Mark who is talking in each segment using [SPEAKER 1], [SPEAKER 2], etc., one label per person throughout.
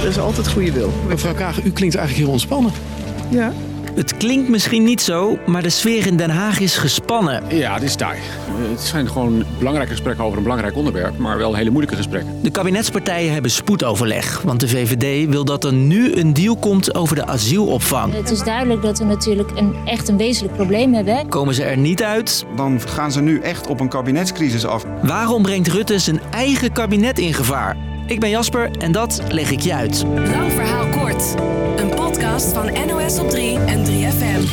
[SPEAKER 1] Er is altijd goede wil.
[SPEAKER 2] Mevrouw Kaag, u klinkt eigenlijk heel ontspannen.
[SPEAKER 1] Ja.
[SPEAKER 3] Het klinkt misschien niet zo, maar de sfeer in Den Haag is gespannen.
[SPEAKER 4] Ja, dit is taai. Het zijn gewoon belangrijke gesprekken over een belangrijk onderwerp, maar wel hele moeilijke gesprekken.
[SPEAKER 3] De kabinetspartijen hebben spoedoverleg, want de VVD wil dat er nu een deal komt over de asielopvang.
[SPEAKER 5] Het is duidelijk dat we natuurlijk een, echt een wezenlijk probleem hebben.
[SPEAKER 3] Komen ze er niet uit?
[SPEAKER 6] Dan gaan ze nu echt op een kabinetscrisis af.
[SPEAKER 3] Waarom brengt Rutte zijn eigen kabinet in gevaar? Ik ben Jasper en dat leg ik je uit.
[SPEAKER 7] Lang verhaal kort. Een podcast van NOS op 3 en 3FM.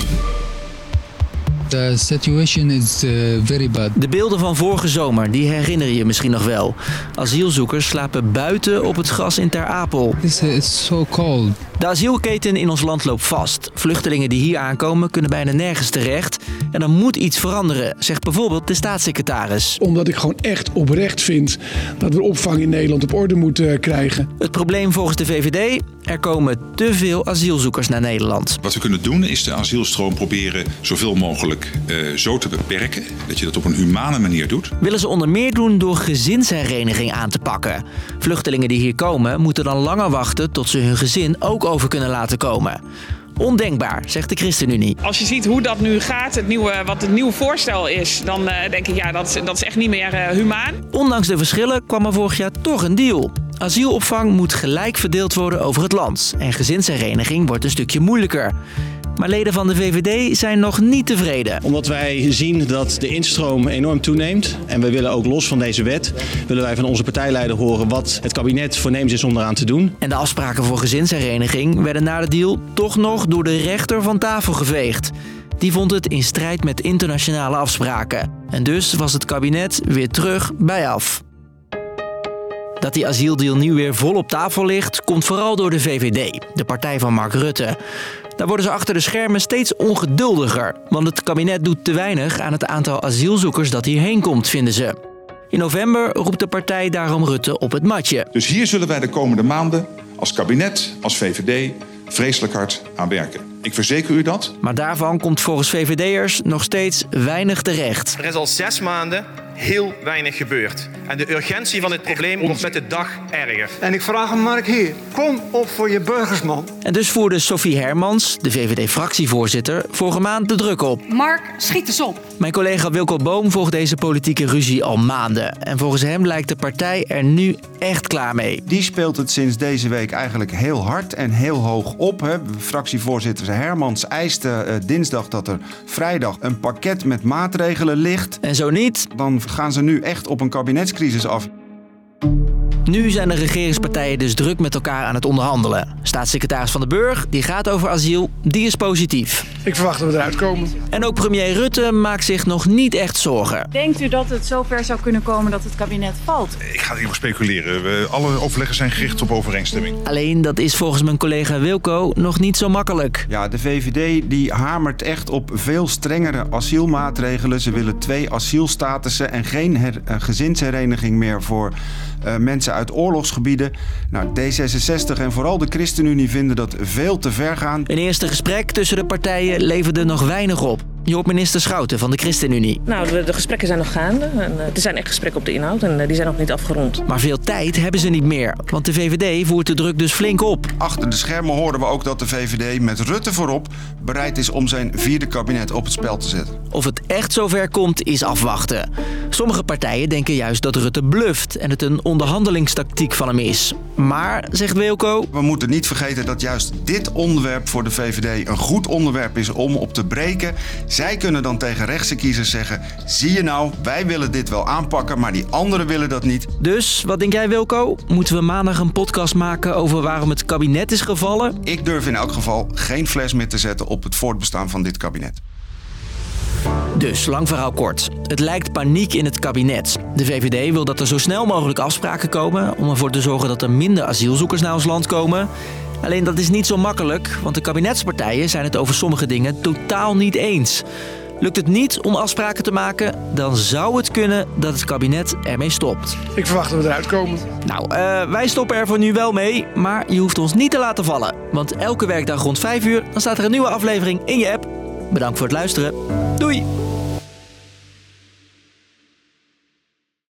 [SPEAKER 8] The situation is uh, very bad.
[SPEAKER 3] De beelden van vorige zomer, die herinner je misschien nog wel. Asielzoekers slapen buiten op het gras in Ter Apel.
[SPEAKER 8] This is so cold.
[SPEAKER 3] De asielketen in ons land loopt vast. Vluchtelingen die hier aankomen kunnen bijna nergens terecht. En er moet iets veranderen, zegt bijvoorbeeld de staatssecretaris.
[SPEAKER 9] Omdat ik gewoon echt oprecht vind dat we opvang in Nederland op orde moeten eh, krijgen.
[SPEAKER 3] Het probleem volgens de VVD? Er komen te veel asielzoekers naar Nederland.
[SPEAKER 10] Wat we kunnen doen is de asielstroom proberen zoveel mogelijk eh, zo te beperken. Dat je dat op een humane manier doet.
[SPEAKER 3] Willen ze onder meer doen door gezinshereniging aan te pakken. Vluchtelingen die hier komen moeten dan langer wachten tot ze hun gezin ook over kunnen laten komen. Ondenkbaar, zegt de ChristenUnie.
[SPEAKER 11] Als je ziet hoe dat nu gaat, het nieuwe, wat het nieuwe voorstel is, dan eh, denk ik ja, dat, is- dat is echt niet meer eh, humaan.
[SPEAKER 3] Ondanks de verschillen kwam er vorig jaar toch een deal. Asielopvang moet gelijk verdeeld worden over het land. En gezinshereniging wordt een stukje moeilijker. Maar leden van de VVD zijn nog niet tevreden.
[SPEAKER 12] Omdat wij zien dat de instroom enorm toeneemt. En we willen ook los van deze wet, willen wij van onze partijleider horen wat het kabinet voornemens is om eraan te doen.
[SPEAKER 3] En de afspraken voor gezinshereniging werden na de deal toch nog door de rechter van tafel geveegd. Die vond het in strijd met internationale afspraken. En dus was het kabinet weer terug bij af. Dat die asieldeal nu weer vol op tafel ligt, komt vooral door de VVD, de partij van Mark Rutte. Daar worden ze achter de schermen steeds ongeduldiger, want het kabinet doet te weinig aan het aantal asielzoekers dat hierheen komt, vinden ze. In november roept de partij daarom Rutte op het matje.
[SPEAKER 10] Dus hier zullen wij de komende maanden als kabinet, als VVD, vreselijk hard aan werken. Ik verzeker u dat.
[SPEAKER 3] Maar daarvan komt volgens VVD'ers nog steeds weinig terecht.
[SPEAKER 13] Er is al zes maanden heel weinig gebeurd. En de urgentie van dit probleem wordt met de dag erger.
[SPEAKER 14] En ik vraag hem, Mark, hier. Kom op voor je burgers, man.
[SPEAKER 3] En dus voerde Sophie Hermans, de VVD-fractievoorzitter, vorige maand de druk op.
[SPEAKER 15] Mark, schiet eens op.
[SPEAKER 3] Mijn collega Wilco Boom volgt deze politieke ruzie al maanden. En volgens hem lijkt de partij er nu echt klaar mee.
[SPEAKER 6] Die speelt het sinds deze week eigenlijk heel hard en heel hoog op. Hè. Fractievoorzitter Hermans eiste eh, dinsdag dat er vrijdag een pakket met maatregelen ligt.
[SPEAKER 3] En zo niet?
[SPEAKER 6] Dan gaan ze nu echt op een kabinetscrisis af.
[SPEAKER 3] Nu zijn de regeringspartijen dus druk met elkaar aan het onderhandelen. Staatssecretaris Van den Burg, die gaat over asiel, die is positief.
[SPEAKER 9] Ik verwacht dat we eruit komen.
[SPEAKER 3] En ook premier Rutte maakt zich nog niet echt zorgen.
[SPEAKER 16] Denkt u dat het zover zou kunnen komen dat het kabinet valt?
[SPEAKER 10] Ik ga hierover speculeren. We, alle overleggen zijn gericht op overeenstemming.
[SPEAKER 3] Alleen dat is volgens mijn collega Wilco nog niet zo makkelijk.
[SPEAKER 6] Ja, de VVD die hamert echt op veel strengere asielmaatregelen. Ze willen twee asielstatussen en geen her- eh, gezinshereniging meer voor eh, mensen uit oorlogsgebieden. Nou, D66 en vooral de ChristenUnie vinden dat veel te ver gaan.
[SPEAKER 3] Een eerste gesprek tussen de partijen leverde nog weinig op. Je hoort minister Schouten van de ChristenUnie.
[SPEAKER 17] Nou, de, de gesprekken zijn nog gaande. En, eh, er zijn echt gesprekken op de inhoud en eh, die zijn nog niet afgerond.
[SPEAKER 3] Maar veel tijd hebben ze niet meer, want de VVD voert de druk dus flink op.
[SPEAKER 6] Achter de schermen hoorden we ook dat de VVD met Rutte voorop bereid is om zijn vierde kabinet op het spel te zetten.
[SPEAKER 3] Of het echt zover komt, is afwachten. Sommige partijen denken juist dat Rutte bluft en het een onderhandelingstactiek van hem is. Maar, zegt Wilco,
[SPEAKER 6] We moeten niet vergeten dat juist dit onderwerp voor de VVD een goed onderwerp is om op te breken. Zij kunnen dan tegen rechtse kiezers zeggen: zie je nou, wij willen dit wel aanpakken, maar die anderen willen dat niet.
[SPEAKER 3] dus wat denk jij Wilco? Moeten we maandag een podcast maken over waarom het kabinet is gevallen?
[SPEAKER 6] Ik durf in elk geval geen fles meer te zetten op het voortbestaan van dit kabinet.
[SPEAKER 3] Dus, lang verhaal kort. Het lijkt paniek in het kabinet. De VVD wil dat er zo snel mogelijk afspraken komen om ervoor te zorgen dat er minder asielzoekers naar ons land komen. Alleen dat is niet zo makkelijk, want de kabinetspartijen zijn het over sommige dingen totaal niet eens. Lukt het niet om afspraken te maken, dan zou het kunnen dat het kabinet ermee stopt.
[SPEAKER 9] Ik verwacht dat we eruit komen.
[SPEAKER 3] Nou, eh, wij stoppen er voor nu wel mee, maar je hoeft ons niet te laten vallen. Want elke werkdag rond 5 uur dan staat er een nieuwe aflevering in je app. Bedankt voor het luisteren. Doei!